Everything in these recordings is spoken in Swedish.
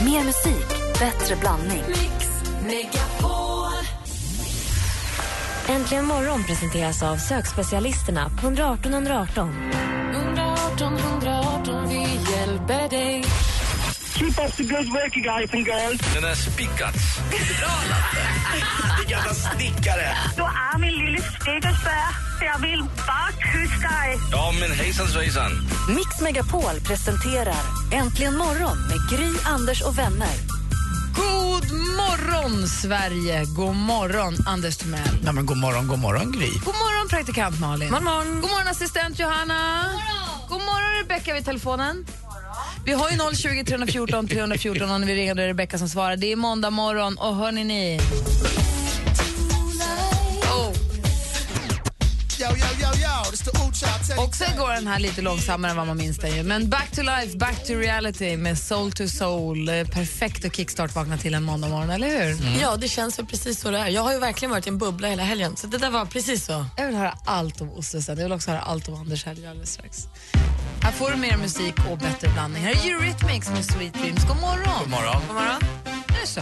Mer musik, bättre blandning. Mix Megapol. Äntligen morgon presenteras av sökspecialisterna på 118 118. 118 118, vi hjälper dig. Keep up the good work, you guys and girls. Den där spickats. Gamla snickare. Du är min lille snickersbär. Jag vill bara kyssa dig. Ja, men hejsan svejsan. Mix Megapol presenterar Äntligen morgon med Gry, Anders och vänner. God morgon, Sverige! God morgon, Anders Timell. Nej, men god morgon, god morgon Gry. God morgon, praktikant Malin. God morgon, god morgon assistent Johanna. God morgon, god morgon Rebecka vid telefonen. Vi har ju 020 314 314 om vi ringer. Det är Rebecka som svarar. Det är måndag morgon och hörni ni... Oh. Också går den här lite långsammare än vad man minns den ju. Men back to life, back to reality med soul to soul. Eh, Perfekt att kickstart-vakna till en måndag morgon, eller hur? Mm. Ja, det känns väl precis så det är. Jag har ju verkligen varit i en bubbla hela helgen, så det där var precis så. Jag vill höra allt om Osse sen. Jag vill också höra allt om Anders Helge alldeles strax. Här får du mer musik och bättre blandning. Här är Eurythmics med Sweet Dreams. God morgon! God morgon. God morgon. Nu så.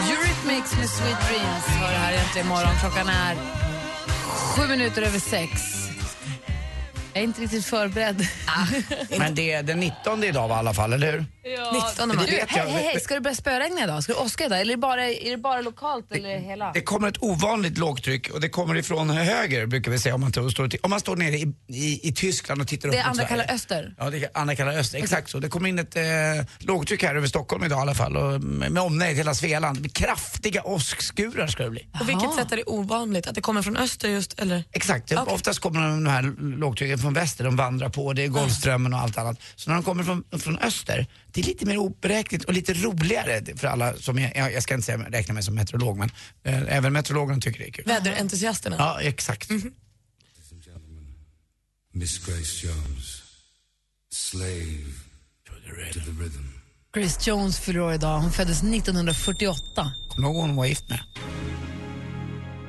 Eurythmics med Sweet Dreams hör det här egentligen imorgon. Klockan är sju minuter över sex. Jag är inte riktigt förberedd. Ah. Men det är den 19 idag va, i alla fall, eller hur? 19 maj. det vet jag. Hej, hej, hej. Ska det börja spöregna idag? Ska det åska idag? Eller är det bara, är det bara lokalt eller hela? Det kommer ett ovanligt lågtryck och det kommer ifrån höger brukar vi säga om man står, står, om man står nere i, i, i Tyskland och tittar upp Det är mot andra Sverige. kalla öster. Ja, det är andra kalla öster, exakt så. Det kommer in ett eh, lågtryck här över Stockholm idag i alla fall och med med omnejd hela Svealand. Det blir kraftiga åskskurar ska det bli. På vilket sätt är det ovanligt? Att det kommer från öster just, eller? Exakt, det- oftast kommer de här lågtrycken från väster, de vandrar på, det är Golfströmmen och allt annat. Så när de kommer från, från öster, det är lite mer oberäkneligt och lite roligare för alla som, är, jag, jag ska inte säga, räkna mig som meteorolog, men eh, även meteorologerna tycker det är kul. Väderentusiasterna. Ja, exakt. Mhm. Miss Grace Jones, slave to the rhythm. Chris Jones fyller år idag. Hon föddes 1948. Kommer du ihåg hon var gift med?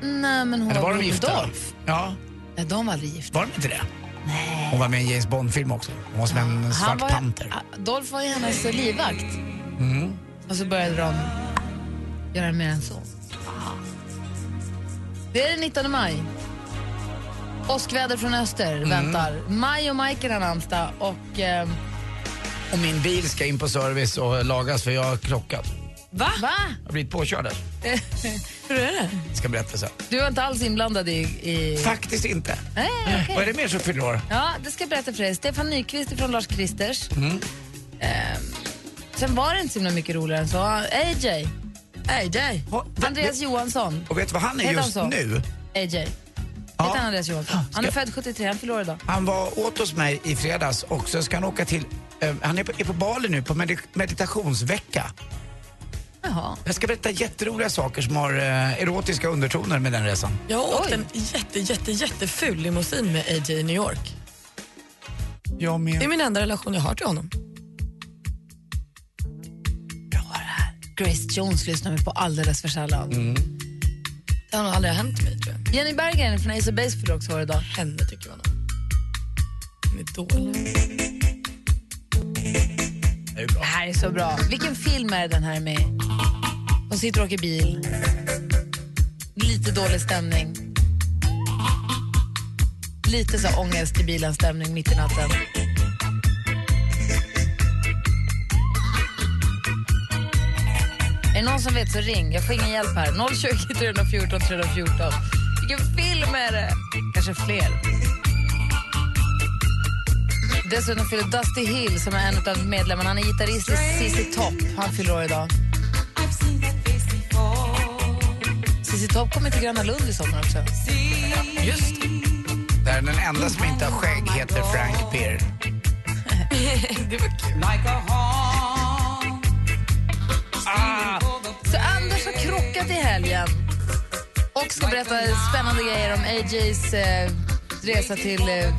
Nej, men hon Eller var var de med gifta? Dolph. Ja, Nej, de var aldrig gifta. var de inte det? Hon var med i en James Bond-film också. Hon var som en svart var, panter. Mm. Ah, Dolph var ju hennes livvakt. Och så började de göra mer än så. Det är den 19 maj. Åskväder från öster Mm. väntar. Maj och Majken har namnsdag och... Eh, Och min bil ska in på service och lagas för jag har krockat. va? Jag har blivit påkörd där. Hur är det? Ska berätta sen. Du var inte alls inblandad i... i... Faktiskt inte. Nej, okej. Vad är det mer som fyller år? Ja, det ska jag berätta för dig. Stefan Nyqvist från Lars Kristers. Mm. Ehm, sen var det inte så himla mycket roligare än så. AJ. AJ. Va- va- Andreas va- Johansson. Och vet du vad han är Heter han just så? nu? AJ. Heter Ja. han Andreas Johansson? Han är född 73, han fyller år idag. Han var åt hos mig i fredags och sen ska han åka till... eh, han är på, är på Bali nu på medi- meditationsvecka. Jaha. Jag ska berätta jätteroliga saker som har eh, erotiska undertoner med den resan. Jag har åkt Oj. en jätte, jätte, jätteful limousin med AJ i New York. Jag Det är med. min enda relation jag har till honom. Grace Jones lyssnar vi på alldeles för sällan. Det har nog aldrig hänt mig, tror jag. Jenny Berggren från Ace of Base fyller också år idag. Henne tycker man om. Hon är dålig. Det är bra. Det här är så bra. Vilken film är den här med? De sitter och åker bil. Lite dålig stämning. Lite så här ångest i bilen stämning mitt i natten. Är det någon som vet så ring. Jag får ingen hjälp här. 020 314 314. Vilken film är det? Kanske fler. Dessutom fyller Dusty Hill, som är en av medlemmarna, han är gitarrist i ZZ Top. Han fyller år idag. ZZ Top kommer till Gröna Lund i sommar också. Just Där den enda som inte har skägg heter Frank Beer. Så Anders har krockat i helgen och ska berätta spännande grejer om AJs eh, resa till eh,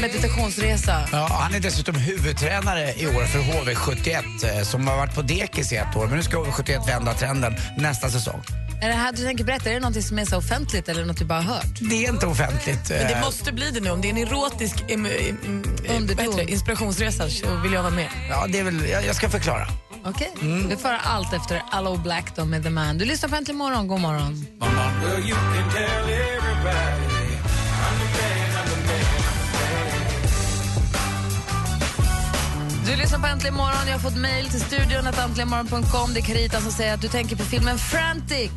meditationsresa. Ja, han är dessutom huvudtränare i år för HV71 eh, som har varit på dekis i ett år. Men nu ska HV71 vända trenden nästa säsong. Är det här du tänker berätta, är det något som är så offentligt eller något du bara har hört? Det är inte offentligt. Men det eh, måste bli det nu. Om det är en erotisk em, em, em, Underton. vad heter det? inspirationsresa så vill jag vara med. Ja, det är väl, jag, jag ska förklara. Okej, du får höra allt efter Allo Black då med The Man. Du lyssnar på Äntligen morgon, god morgon. Du lyssnar på Äntligen morgon, jag har fått mejl till studion att äntligenmorgon.com. Det är Carita som säger att du tänker på filmen Frantic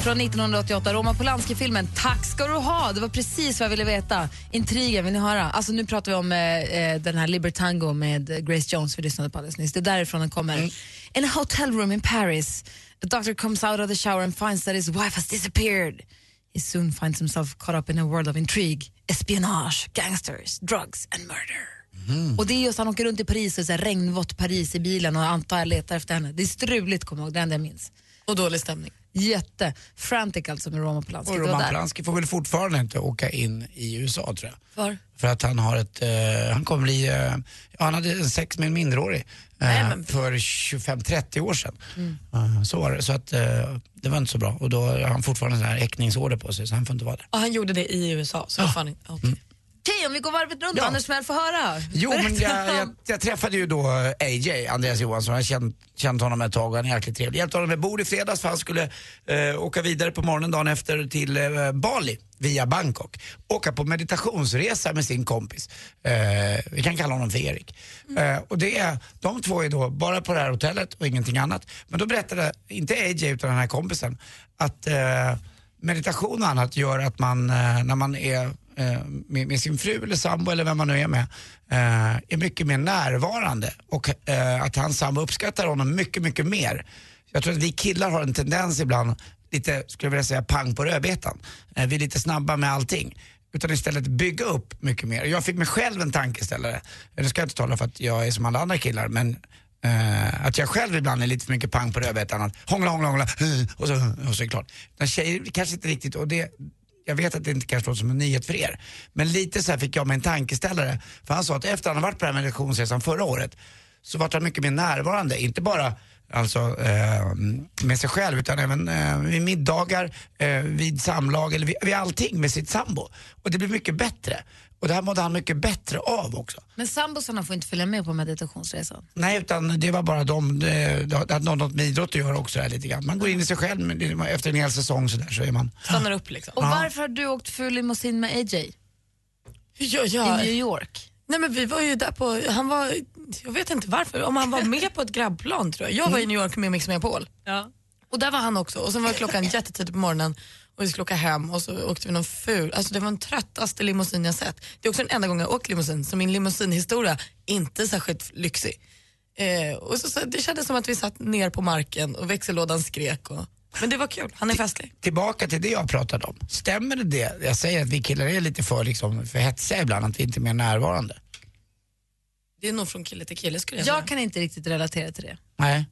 från 1988, Roman Polanski-filmen. Tack ska du ha, det var precis vad jag ville veta. Intrigen, vill ni höra? Alltså nu pratar vi om eh, eh, den här Libertango med Grace Jones vi lyssnade på alldeles nyss. Det är därifrån den kommer. In a hotel room in Paris, a doctor comes out of the shower and finds that his wife has disappeared. He soon finds himself caught up in a world of intrigue, espionage, gangsters, drugs and murder. Och det är just han åker runt i Paris och så här regnvått Paris i bilen och antar jag letar efter henne. Det är struligt kommer jag ihåg, det är det enda jag minns. Och dålig stämning. Jätte. Frantic alltså med Roman Polanski. Och Det var Roman där. Polanski får väl fortfarande inte åka in i USA tror jag. Var? För att han har ett, eh, han kommer bli, eh, ja, han hade sex med en minderårig eh, för 25-30 år sedan. Eh, så var det, så att eh, det var inte så bra. Och då har han fortfarande sån här häckningsorder på sig så han får inte vara där. Ja, han gjorde det i USA. Så fan, inte- okej. Okej, om vi går varvet runt Ja. Anders Smell får höra. Jo, men Berätta jag, jag, om- jag träffade ju då AJ, Andreas Johansson. Jag har känt, känt honom ett tag och han är jäkligt trevlig. Hjälpte honom med bord i fredags för han skulle eh, åka vidare på morgonen dagen efter till eh, Bali via Bangkok. Åka på meditationsresa med sin kompis. Eh, vi kan kalla honom för Erik. Mm. Eh, och det är, de två är då bara på det här hotellet och ingenting annat. Men då berättade, inte AJ utan den här kompisen, att eh, meditation och annat gör att man eh, när man är eh, med, med sin fru eller sambo eller vem man nu är med eh, är mycket mer närvarande och eh, att hans sambo uppskattar honom mycket, mycket mer. Jag tror att vi killar har en tendens ibland, lite skulle jag vilja säga pang på rödbetan. Eh, Vi är lite snabba med allting. Utan istället bygga upp mycket mer. Jag fick mig själv en tankeställare. Nu ska jag inte tala för att jag är som alla andra killar men Eh, att jag själv ibland är lite för mycket pang på rödbetan. att Hångla, hångla, hångla eh, och så, och så är det klart. Men tjejer kanske inte riktigt, och det, jag vet att det inte kanske låter som en nyhet för er. Men lite så här fick jag mig en tankeställare. För han sa att efter han har varit på den här meditationsresan förra året så vart han mycket mer närvarande. Inte bara alltså, eh, med sig själv utan även eh, vid middagar, eh, vid samlag eller vid, vid allting med sitt sambo. Och det blir mycket bättre. Och det här mådde han mycket bättre av också. Men sambosarna får inte följa med på meditationsresan. Nej, utan det var bara de, eh, det det hade något med idrott att göra också här lite grann. Man går in i sig själv men det- efter en hel säsong sådär så är man... Stannar upp liksom. Och varför har du åkt full limousin med AJ Ja, i ja. New York? Nej, men vi var ju där på, han var, jag vet inte varför, om han var med på ett grabbplan tror jag. Jag var i New York med Mix Megapol. Och där var han också. Och sen var klockan jättetidigt på morgonen och vi skulle åka hem och så åkte vi någon ful, alltså det var den tröttaste limousin jag sett. Det är också den enda gången jag åkt limousin, så min limousinhistoria inte särskilt lyxig. Eh, och så, så, det kändes som att vi satt ner på marken och växellådan skrek. Och, men det var kul, han är festlig. Tillbaka till det jag pratade om. Stämmer det det? Jag säger att vi killar är lite för, liksom, för hetsiga ibland, att vi inte är mer närvarande. Det är nog från kille till kille skulle jag säga. Jag kan inte riktigt relatera till det. Nej.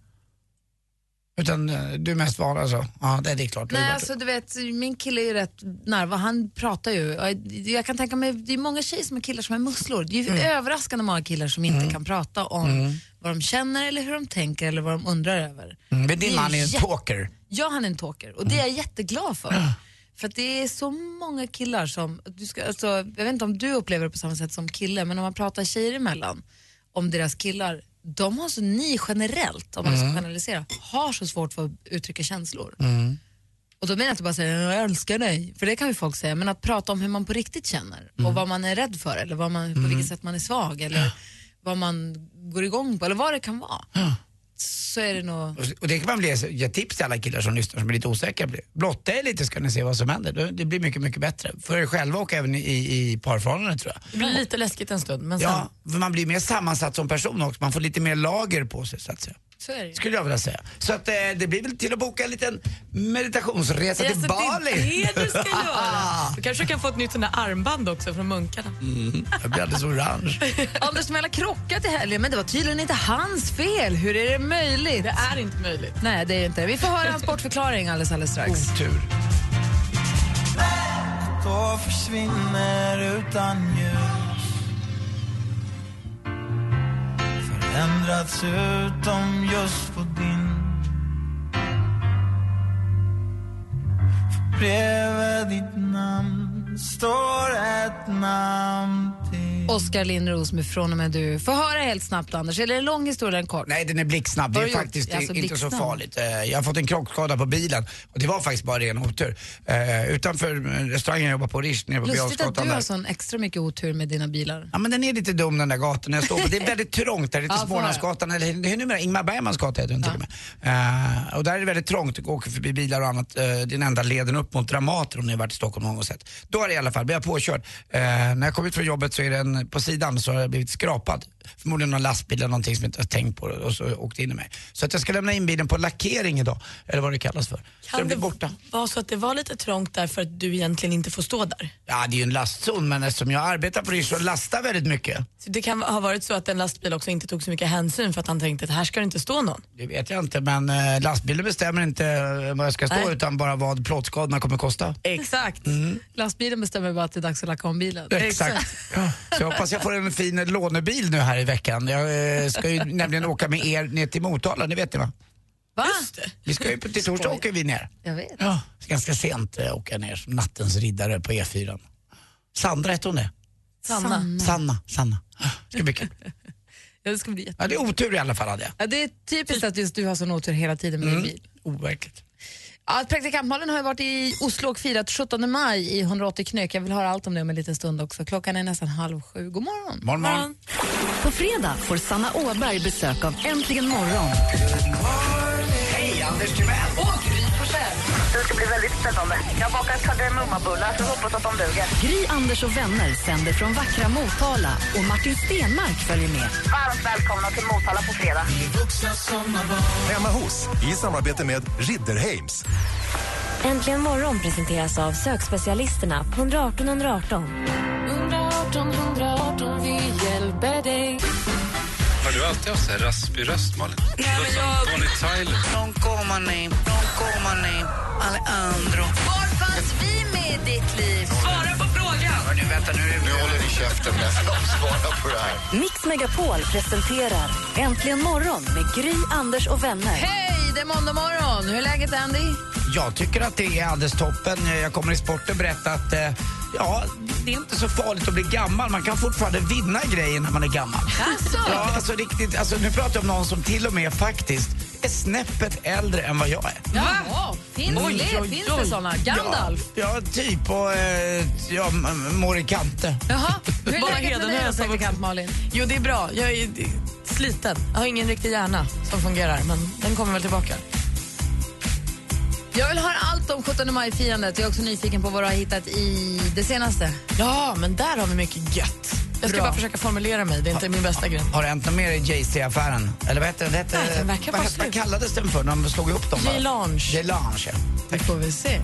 Utan eh, du är mest van alltså? Ja, det det är klart. Du har Nej, varit- alltså du vet, min kille är ju rätt närva. Han pratar ju. Jag kan tänka mig, det är många tjejer som är killar som är musslor. Det är ju överraskande många killar som inte kan prata om vad de känner eller hur de tänker eller vad de undrar över. Mm, Men din det är man är en jätte- talker. Ja, han är en talker och det är jag jätteglad för. För att det är så många killar som, du ska, alltså, jag vet inte om du upplever det på samma sätt som kille, men om man pratar tjejer emellan om deras killar, de har så, ni generellt, om man ska generalisera, har så svårt för att uttrycka känslor. Och då menar jag inte bara säga jag älskar dig, för det kan ju folk säga, men att prata om hur man på riktigt känner och vad man är rädd för eller vad man, på vilket sätt man är svag eller vad man går igång på eller vad det kan vara. Så är det nog... Och- Och det kan man bli, ge tips till alla killar som lyssnar som är lite osäkra. Blotta er lite ska ni se vad som händer. Det- Det blir mycket, mycket bättre. För er själva och även i, i parförhållandet tror jag. Det blir lite läskigt en stund men sen, Ja, för man blir mer sammansatt som person också. Man får lite mer lager på sig så att säga. Så är det ju. Skulle jag vilja säga. Så att eh, det blir väl till att boka en liten meditationsresa Yes, till Alltså, Det Bali. är det du ska göra. Du kanske kan få ett nytt sånt där armband också från munkarna. Mm. Jag blir alldeles orange. Anders Timell har krockat i helgen, men det var tydligen inte hans fel. Hur är det möjligt? Det är inte möjligt. Mm. Nej, det är inte. Vi får höra hans bortförklaring alldeles, alldeles strax. Otur. Då försvinner utan ljus Förändrats utom just på din bredvid ditt namn står ett namn till. Oskar Mm. Lindros med Från och med du. Få höra helt snabbt, Anders. Eller är det en lång historia eller en kort? Nej, den är blixtsnabb. Det Har är du gjort? faktiskt Alltså, inte så blixtsnabb. farligt. Eh, Jag har fått en krockskada på bilen och det var faktiskt bara ren otur. Eh, Utanför eh, restaurangen jag jobbar på, Rish, nere på Lustigt att Bihavsgatan du har där. sån extra mycket otur med dina bilar. Ja men den är lite dum den där gatan jag står på. Det är väldigt trångt där, det är Ja, till får Smålandsgatan, eller det är numera Ingmar Bergmans gata heter den till och med. Eh, och där är det väldigt trångt, och åker förbi bilar och annat. Eh, det är den enda leden upp mot Dramaten om ni har varit i Stockholm någon gång och sett. Då har det i alla fall blivit påkörd. Eh, när jag kom ut från jobbet så är den på sidan så har jag blivit skrapad. Förmodligen någon lastbil eller någonting som jag inte har tänkt på och så åkte in i mig. Så att jag ska lämna in bilen på lackering idag, eller vad det kallas för. så den blir det borta. var så att det var lite trångt där för att du egentligen inte får stå där? Ja det är ju en lastzon men eftersom jag arbetar på det så lastar jag väldigt mycket. Så det kan ha varit så att en lastbil också inte tog så mycket hänsyn för att han tänkte att här ska det inte stå någon. Det vet jag inte, men eh, lastbilen bestämmer inte eh, vad jag ska stå Nej. utan bara vad plåtskadorna kommer kosta. Exakt. Lastbilen bestämmer bara att det är dags att lacka om bilen. Mm. Exakt. Ja. Så jag hoppas jag får en fin lånebil nu här i veckan. Jag eh, ska ju nämligen åka med er ner till Motala, det vet ni va? Va? Vi ska ju på, till torsdag åker vi ner. Jag vet. Ja, ska ganska sent eh, åka ner som nattens riddare på E4. Sandra hette hon det? Sanna. Sanna, Sanna. Ah, Ska bli kul. Mm. Ja, det ska bli jätte... Ja, det är otur i alla fall hade jag. ja, Det är typiskt att just du har sån otur hela tiden med din bil. Mm. Overkligt. Ja, Praktikantmalen har ju varit i Oslo och firat 17 maj i 180 knök. Jag vill höra allt om det om en liten stund också. Klockan är nästan halv sju. God morgon. Morgon, morgon. På fredag får Sanna Åberg besök av Äntligen morgon. Hej Anders Timell! Det ska bli väldigt spännande. Jag har bakat kardemummabullar så hoppas att de duger. Gry, Anders och vänner sänder från vackra Motala och Martin Stenmark följer med. Varmt välkomna till Motala på fredag. Hemma hos, i samarbete med Ridderheims. Äntligen morgon presenteras av sökspecialisterna på 118 118. 118 118, vi hjälper dig. Har du alltid haft så här raspig röst, Malin? Du låter som Bonnie Tyler. Non coma ni, non coma ni, Alejandro. Var fanns vi med i ditt liv? Hörni, vänta nu. är det- Nu håller ni käften medan de svarar på det här. Mix Megapol presenterar Äntligen morgon med Gry, Anders och vänner. Hej, det är måndag morgon. Hur är läget, Andy? Jag tycker att det är alldeles toppen. Jag kommer i sporten berätta att eh, ja, det är inte så farligt att bli gammal. Man kan fortfarande vinna grejer när man är gammal. Alltså? Ja, alltså riktigt. Alltså, nu pratar jag om någon som till och med faktiskt är snäppet äldre än vad jag är. Ja, finns, Oj, det, oj, finns oj. det såna? Gandalf? Ja, ja typ. Och eh, ja, m- m- Morikante. Jaha. Hur Bara är läget med dig, Hedenhös då, har praktikant Malin? Jo, det är bra. Jag är d- sliten. Jag har ingen riktig hjärna som fungerar, men den kommer väl tillbaka. Jag vill höra allt om 17 maj-firandet. Jag är också nyfiken på vad du har hittat i det senaste. Ja, men där har vi mycket gött. Jag ska Bra. bara försöka formulera mig. Det är inte min bästa grej. Har det hänt något mer i JC-affären? Eller vad heter den? Det hette- Nej, den vad, verkar vara hette- vad slut. kallades den för när de slog ihop dem? va? J-Lange. J-Lange, ja. Det får vi se.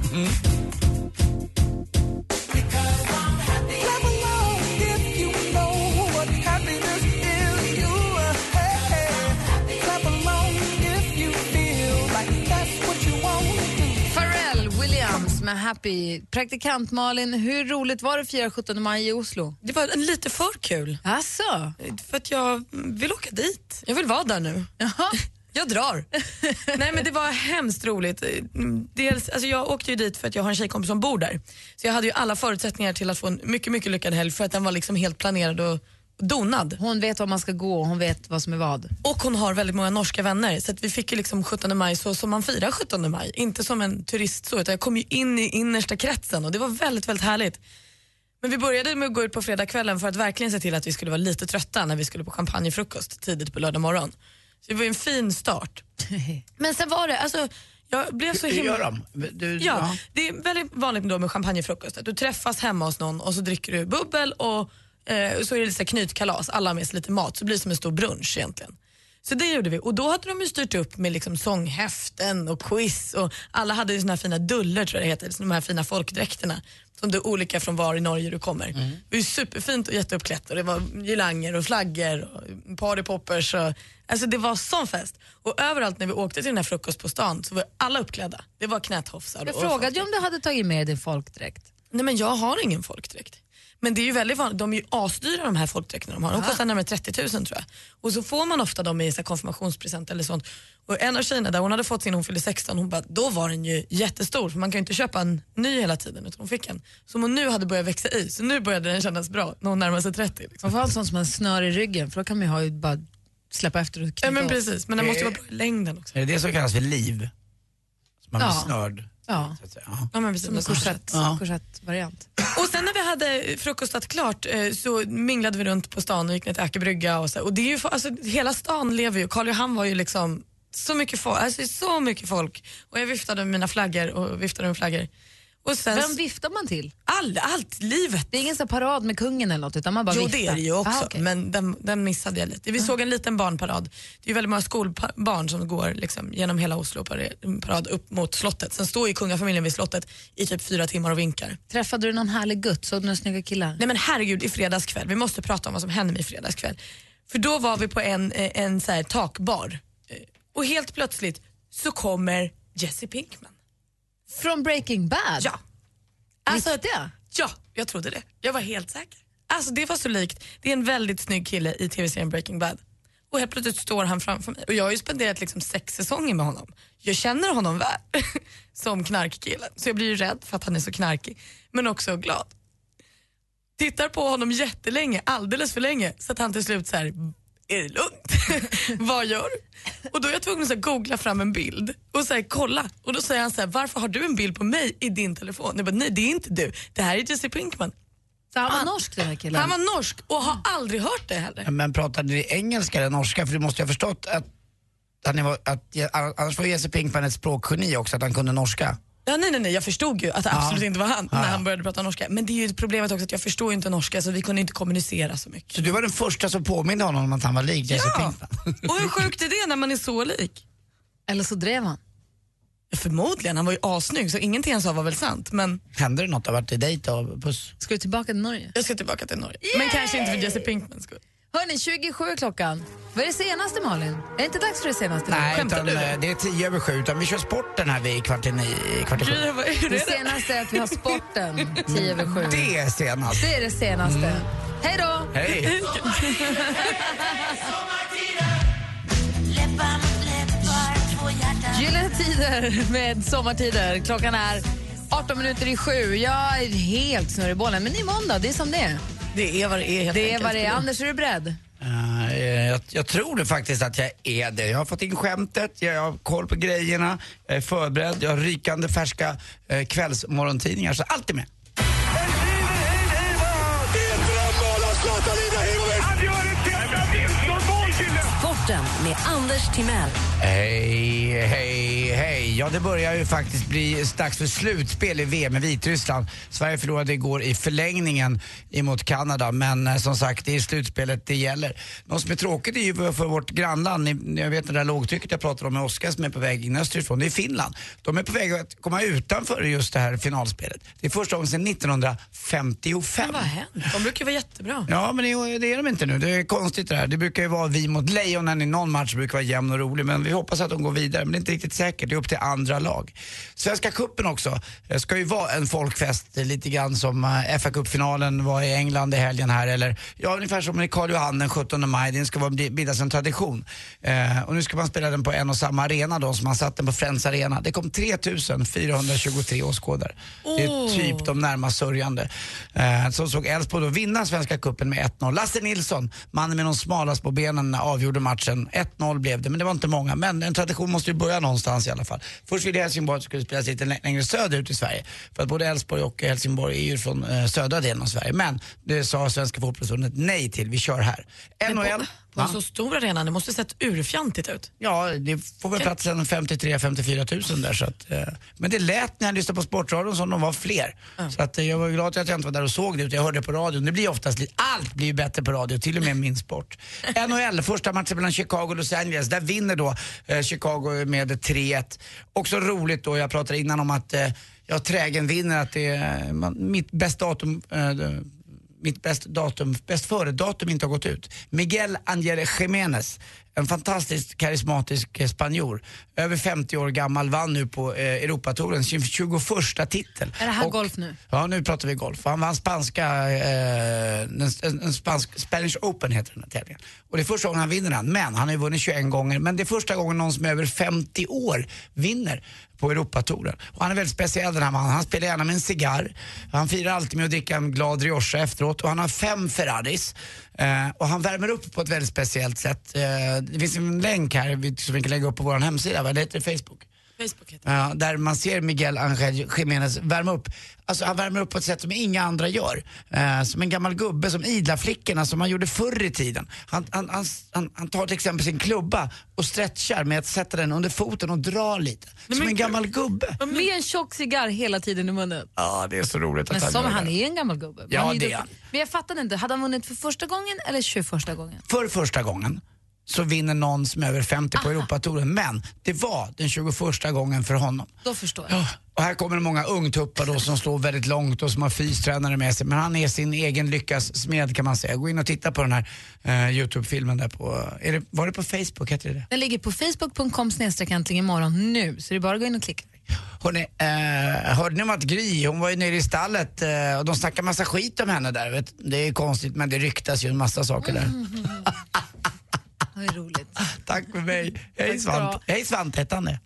Pharrell Williams med Happy. Praktikant Malin, hur roligt var det att fira 17 maj i Oslo? Det var en lite för kul, Alltså, för att jag vill åka dit. Jag vill vara där nu. Jaha. Jag drar. Nej men det var hemskt roligt. Mm, Dels, alltså jag åkte ju dit för att jag har en tjejkompis som bor där. Så jag hade ju alla förutsättningar till att få en mycket, mycket lyckad helg för att den var liksom helt planerad och donad. Hon vet var man ska gå och hon vet vad som är vad. Och hon har väldigt många norska vänner så att vi fick ju liksom 17 maj så som man firar 17 maj. Inte som en turist så utan jag kom ju in i innersta kretsen och det var väldigt, väldigt härligt. Men vi började med att gå ut på fredagskvällen för att verkligen se till att vi skulle vara lite trötta när vi skulle på champagnefrukost tidigt på lördag morgon. Så det var ju en fin start. Men sen var det, alltså jag blev så Hur himla... gör de? Du, Ja, det är väldigt vanligt då med champagnefrukost att du träffas hemma hos någon och så dricker du bubbel och eh, så är det lite så här knytkalas, alla har med sig lite mat så det blir som en stor brunch egentligen. Så det gjorde vi och då hade de ju styrt upp med liksom sånghäften och quiz och alla hade ju såna här fina duller tror jag det heter, så de här fina folkdräkterna som det är olika från var i Norge du kommer. Det var ju superfint och jätteuppklätt och det var girlanger och flaggor och partypoppers och alltså det var sån fest. Och överallt när vi åkte till den här frukost på stan så var alla uppklädda. Det var knätofsar Jag och frågade ju om du hade tagit med dig folkdräkt. Nej men jag har ingen folkdräkt. Men det är ju väldigt vanligt, de är ju asdyra de här folkdräkterna de har. Ah. De kostar närmare 30 000 tror jag. Och så får man ofta dem i så här konfirmationspresent eller sånt. Och en av tjejerna där, hon hade fått sin när hon fyllde 16, hon bara, då var den ju jättestor för man kan ju inte köpa en ny hela tiden utan hon fick en som hon nu hade börjat växa i. Så nu började den kännas bra när hon närmade sig 30. Liksom. Man får ha en sån som en snör i ryggen för då kan man ju ha, bara släppa efter och Ja knyta men åt. precis, men den måste ju vara bra i längden också. Är det det som kallas för liv? Som man Ja. blir snörd? Ja. Ja, men precis. Som en korsett, Ja. korsettvariant. Och sen när vi hade frukostat klart eh, så minglade vi runt på stan och gick ner till Aker brygga och så. Och det är ju, fa- alltså, hela stan lever ju. Karl Johan var ju liksom så mycket folk, alltså så mycket folk. Och jag viftade med mina flaggor och viftade med flaggor. Och sen, Vem viftar man till? All, allt, livet. Det är ingen så här parad med kungen eller något utan man bara jo viftar. det är det ju också, Ah, okej. Ah. men den, den missade jag lite. Vi såg en liten barnparad. Det är ju väldigt många skolbarn som går liksom, genom hela Oslo par- parad upp mot slottet. Sen står ju kungafamiljen vid slottet i typ fyra timmar och vinkar. Träffade du någon härlig gutt? Såg du några snygga killar? Nej men herregud, i fredagskväll. Vi måste prata om vad som hände mig i fredagskväll. För då var vi på en, eh, en så här takbar Eh, och helt plötsligt så kommer Jesse Pinkman. Från Breaking Bad? Ja. Alltså, Visst det? Ja, jag trodde det. Jag var helt säker. Alltså det var så likt. Det är en väldigt snygg kille i tv-serien Breaking Bad. Och helt plötsligt står han framför mig. Och jag har ju spenderat liksom sex säsonger med honom. Jag känner honom väl som knarkkillen. Så jag blir ju rädd för att han är så knarkig. Men också glad. Tittar på honom jättelänge, alldeles för länge. Så att han till slut så här, är det lugnt? Vad gör du? Och då är jag tvungen att så här, googla fram en bild och så här, kolla. Och då säger han så här, varför har du en bild på mig i din telefon? Jag bara, nej det är inte du. Det här är Jesse Pinkman. Så han var norsk den här killen? Han var norsk och har aldrig hört det heller. Men pratade ni engelska eller norska? För du måste ju ha förstått att, han var, att annars var Jesse Pinkman ett språkgeni också, att han kunde norska. Ja, nej, nej, nej, jag förstod ju att det Ja. absolut inte var han Ja, när ja. han började prata norska. Men det är ju problemet också att jag förstår ju inte norska så vi kunde inte kommunicera så mycket. Så du var den första som påminde honom om att han var lik Jesse Ja. Pinkman? Och hur sjukt är det när man är så lik? Eller så drev han. Ja, förmodligen, han var ju assnygg så ingenting han sa var väl sant. Men Hände det något? Har varit i dejt och puss? Ska du tillbaka till Norge? jag ska tillbaka till Norge. Men kanske inte för Jesse Pinkmans skull. Hörni, 27 är klockan. Vad är det senaste Malin? Är det inte dags för det senaste? Nej, Skämtar utan, du? eh, det är tio över sju, utan vi kör sporten här vid kvart i nio, kvart i sju. Gud, vad är Det det? senaste är att vi har sporten 10 över 7. Det är senast. Det är det senaste. Mm. Hej då! Hej! Gyllene tider med sommartider. Klockan är 18 minuter i sju. Jag är helt snurrig i bollen, men det är måndag. Det är som det är. Det är vad det är helt Det är enkelt. vad det är. Anders, är du beredd? Eh, jag, jag tror det faktiskt att jag är det. Jag har fått in skämtet, jag har koll på grejerna, jag är förberedd, jag har rykande färska eh, kvällsmorgontidningar, så allt är med. Sporten med Anders Timell. Hej, hej, hej. Ja, det börjar ju faktiskt bli dags för slutspel i VM i Vitryssland. Sverige förlorade igår i förlängningen emot Kanada, men eh, som sagt, det är slutspelet det gäller. Något som är tråkigt är ju för vårt grannland, ni- jag vet det där lågtrycket jag pratade om med Oskar som är på väg in österifrån, det är Finland. De är på väg att komma utanför just det här finalspelet. Det är första gången sedan 1955. Vad har hänt? De brukar ju vara jättebra. Ja, men det, det är de inte nu. Det är konstigt det här. Det brukar ju vara vi mot Lejonen i någon match, brukar vara jämn och rolig. Men vi hoppas att de går vidare, men det är inte riktigt säkert. Det är upp till andra lag. Svenska Cupen också eh, ska ju vara en folkfest, eh, lite grann som eh, fa Cup-finalen var i England i helgen här. Eller ja, ungefär som i Karl Johan den 17 maj. Det ska vara, bildas en tradition. Eh, och nu ska man spela den på en och samma arena då, som man satt den på Friends Arena. Det kom 3423 åskådare. Det är typ de närmast sörjande. Eh, som såg Elfsborg då vinna Svenska Cupen med 1-0. Lasse Nilsson, mannen med de smala små benen, avgjorde matchen. 1-0 blev det, men det var inte många. Men en tradition måste ju börja någonstans i alla fall. Först ville Helsingborg att det skulle spelas lite lä- längre söderut i Sverige. För att både Elfsborg och Helsingborg är ju från eh, södra delen av Sverige. Men det sa Svenska Fotbollförbundet nej till. Vi kör här. NHL. På en Va? så stor arena, det måste sett urfjantigt ut. Ja, det får väl plats en 53-54 000 där. Så att, eh, men det lät när jag lyssnade på Sportradion som de var fler. Så att, eh, jag var glad att jag inte var där och såg det, utan jag hörde på radion. Det blir oftast, li- allt blir ju bättre på radio, till och med min sport. NHL, första matchen mellan Chicago och Los Angeles. Där vinner då eh, Chicago med 3-1. Också roligt då, jag pratade innan om att eh, jag trägen vinner, att det är, man, mitt bästa datum eh, mitt bäst, datum, bäst före-datum inte har gått ut. Miguel Angel Jiménez, en fantastiskt karismatisk eh, spanjor. Över 50 år gammal, vann nu på eh, Europatouren sin 21 titel. Är det här Och- golf nu? Ja, nu pratar vi golf. Han vann spanska, eh, en, en, en spansk, Spanish Open heter den här tävlingen. Och det är första gången han vinner den, men han har ju vunnit 21 gånger. Men det är första gången någon som är över 50 år vinner på Europatouren. Och han är väldigt speciell den här mannen. Han spelar gärna med en cigarr. Han firar alltid med att dricka en glad Rioja efteråt och han har fem Ferraris. Eh, och han värmer upp på ett väldigt speciellt sätt. Eh, det finns en länk här vi- som vi kan lägga upp på vår hemsida, vad heter det? Facebook? Facebook heter Ja, där man ser Miguel Angel Jiménez värma upp. Alltså han värmer upp på ett sätt som inga andra gör. Eh, som en gammal gubbe, som idla-flickorna som man gjorde förr i tiden. Han, han, han, han, han tar till exempel sin klubba och stretchar med att sätta den under foten och dra lite. som en gammal gubbe. Med en tjock cigarr hela tiden i munnen. Ja, det är så roligt Men att som gör han det. är en gammal gubbe. Ja, Man det ju- är han. Men jag fattade inte, hade han vunnit för första gången eller 21 gången? För första gången så vinner någon som är över 50 på Europatouren. Men det var den 21 gången för honom. Då förstår jag. Och här kommer många ungtuppar då som slår väldigt långt och som har fystränare med sig. Men han är sin egen lyckas smed kan man säga. Gå in och titta på den här eh, Youtube-filmen där på, är det, var det på Facebook? Heter det det? Den ligger på facebook.com snedstreck äntligen imorgon nu, så det är bara att gå in och klicka. Hörrni, eh, hörde ni om att Gry, hon var ju nere i stallet eh, och de snackar massa skit om henne där. Vet? Det är konstigt men det ryktas ju en massa saker där. Det är roligt. Tack för mig. Hej Svante. Hej Svante hette han det.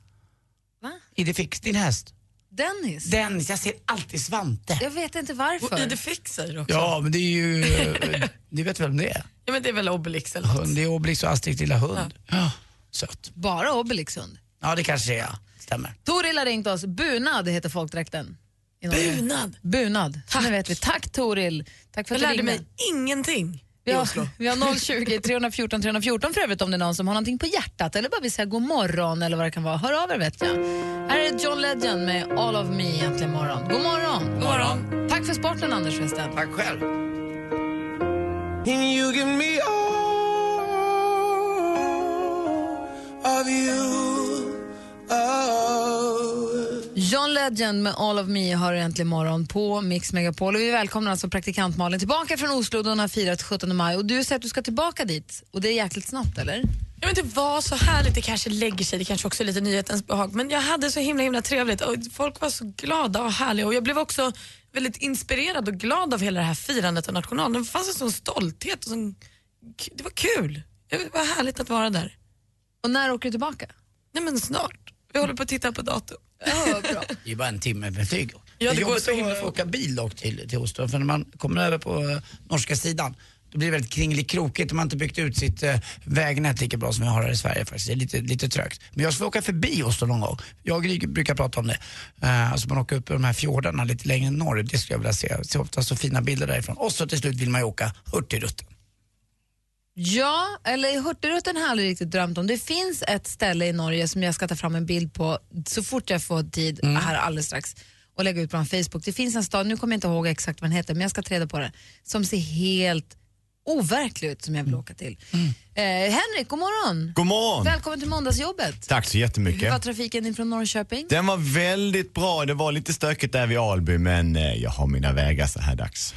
Va? Ide Fix, din häst. Dennis? Dennis, jag ser alltid Svante. Jag vet inte varför. Och Ide Fix säger också. Ja, men det är ju, eh, ni vet vem det är? Ja, men det är väl Obelix eller något. Hund, det är Obelix och Astrids lilla hund. Ja. Söt. Bara Obelix hund. Ja, det kanske är jag. Stämmer. Toril har ringt oss. Bunad heter folkdräkten. i Norge. Bunad? Bunad. Tack. Nu vet vi. Tack Toril. Tack för Jag att du lärde ringde. mig ingenting Vi i har, Oslo. vi har 020 314 314 för övrigt om det är någon som har någonting på hjärtat eller bara vill säga god morgon eller vad det kan vara. Hör av er vet jag. Här är John Legend med All of me egentligen morgon. God morgon. God morgon. Tack för sporten Anders Westén. Tack själv. And you give me all of you. Oh. John Legend med All of me har egentligen morgon på Mix Megapol. Och vi välkomnar alltså praktikant Malin tillbaka från Oslo då hon har firat 17 maj. Och du säger att du ska tillbaka dit och det är jäkligt snabbt eller? Ja, men det var så härligt, det kanske lägger sig, det kanske också är lite nyhetens behag. Men jag hade så himla himla trevligt och folk var så glada och härliga och jag blev också väldigt inspirerad och glad av hela det här firandet av nationalen. Det fanns en sån stolthet och sån... det var kul. Det var härligt att vara där. Och när åker du tillbaka? Nej men snart. Vi håller på att titta på datum. Det är bara en timme med flyg. det går jobbigt så himla att fort. åka bil dock till, till Oslo, för när man kommer över på eh, norska sidan då blir det väldigt kringelikrokigt om man inte byggt ut sitt eh, vägnät lika bra som vi har här i Sverige faktiskt. Det är lite, lite trögt. Men jag ska åka förbi Oslo någon gång. Jag och Gry brukar prata om det. Eh, alltså man åker upp i de här fjordarna lite längre norrut, det skulle jag vilja se. Jag ser ofta så fina bilder därifrån. Och så till slut vill man ju åka Hurtigruten. Ja, eller Hurtigruten har jag aldrig riktigt drömt om. Det finns ett ställe i Norge som jag ska ta fram en bild på så fort jag får tid här alldeles strax och lägga ut på en Facebook. Det finns en stad, nu kommer jag inte ihåg exakt vad den heter, men jag ska ta reda på det, som ser helt overklig ut som jag vill åka till. Eh, Henrik, god morgon! God morgon! Välkommen till måndagsjobbet! Tack så Hur var jättemycket. trafiken in från Norrköping? Den var väldigt bra. Det var lite stökigt där vid Alby men eh, jag har mina vägar så här dags.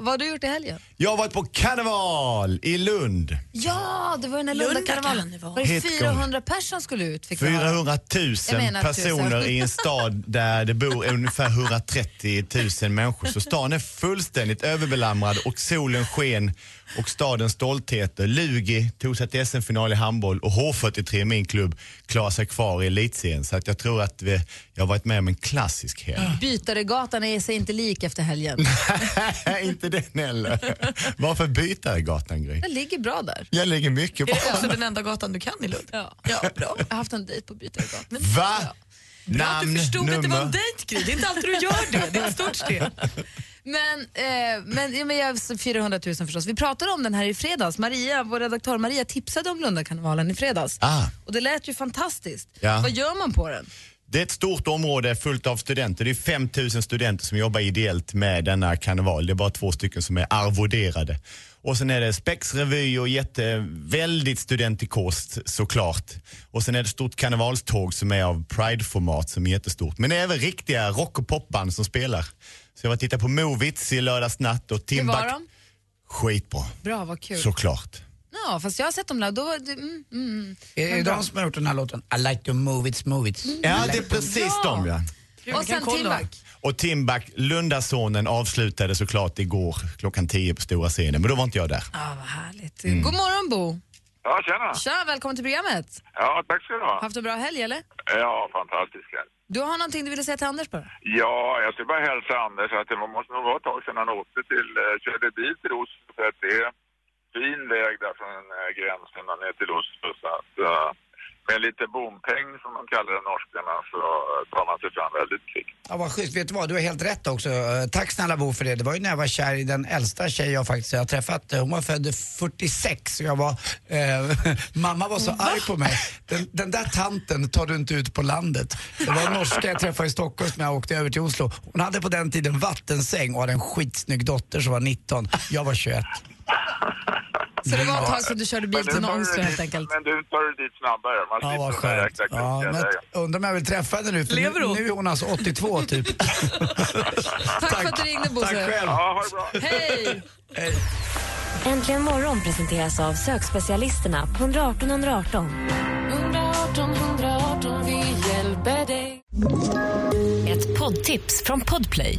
vad har du gjort i helgen? Jag har varit på karneval i Lund. Ja, det var den där Lundakarnevalen. Var det Helt galet. 400 personer som skulle ut? Fick jag höra. 400 Jag 000 menar personer tusen. i en stad där det bor ungefär 130 000 människor. Så stan är fullständigt överbelamrad och solen sken och stadens stoltheter. Lugi tog sig till SM-final i handboll och H43, min klubb, klarar sig kvar i elitserien. Så att jag tror att vi, jag har varit med om en klassisk helg. Bytaregatan är sig inte lik efter helgen. Nej, inte den heller. Varför Bytaregatan, Gry? Den ligger bra där. Jag lägger mycket på Också den enda gatan du kan i Lund. Ja. ja, bra. Jag har haft en dejt på Bytaregatan. Va? du Namn, förstod att det var en nummer. dejt Gry. det är inte alltid du gör det. Det är ett stort steg. Men, eh, men, ja, men jag, 400 000 förstås. Vi pratade om den här i fredags. Maria, vår redaktör Maria tipsade om Lundakarnevalen i fredags. Ah. Och det lät ju fantastiskt. Ja. Vad gör man på den? Det är ett stort område fullt av studenter. Det är 5000 studenter som jobbar ideellt med denna karneval. Det är bara två stycken som är arvoderade. Och sen är det spexrevy och jätte, väldigt studentikost såklart. Och sen är det ett stort karnevalståg som är av Pride-format som är jättestort. Men det är även riktiga rock och popband som spelar. Så jag var och tittade på Movits i lördags natt och Hur Timbuk. var de? Skitbra, Bra, vad kul. såklart. Ja, fast jag har sett dem live. Då var det, mm, mm. Är det Men bra. de som har gjort den här låten I like to move it, move it? Ja, det är precis Ja. de ja. Kul, Och vi kan sen kolla. Timbuk. Och Timbuk, Lundasonen, avslutade såklart igår klockan 10 på stora scenen, men då var inte jag där. Ja, vad härligt. Mm. God morgon, Bo. Ja, tjena. Tja, välkommen till programmet. Ja, tack ska du ha. Haft en bra helg, eller? Ja, fantastisk helg. Du har någonting du ville säga till Anders bara? Ja, jag skulle bara hälsa Anders att det var- måste nog vara ett tag sedan han åkte till, eh, körde bil till Oslo för att det är fin väg där från eh, gränsen och ner till Oslo. Så att, eh, med lite bompeng som de kallar det norskarna så eh, tar man sig fram väldigt kvickt. Ja, vad schysst. Vet du vad, du har helt rätt också. Eh, Tack snälla Bo för det. Det var ju när jag var kär i den äldsta tjej jag faktiskt har träffat. Eh, Hon var född 46 och jag var... Eh, mamma var så arg på mig. Den, den där tanten tar du inte ut på landet. Det var en norska jag träffade i Stockholm när jag åkte över till Oslo. Hon hade på den tiden vattensäng och hade en skitsnygg dotter som var 19. Jag var 21. Så det var ett tag sedan du körde bil Men nu till tar du Ångsjö dit- helt enkelt? Men du tar det dit snabbare. Man Ja, vad slipper de där skönt. jäkla Ja, krokiga men vägarna. undrar om jag vill träffa henne nu, för Lever hon? nu, nu är hon alltså 82 typ. Tack, för att du ringde, Bosse. Tack själv. Ja, ha det bra. Hej! Äntligen morgon presenteras av sökspecialisterna på 118 118. 118 118, vi hjälper dig. Ett poddtips från Podplay.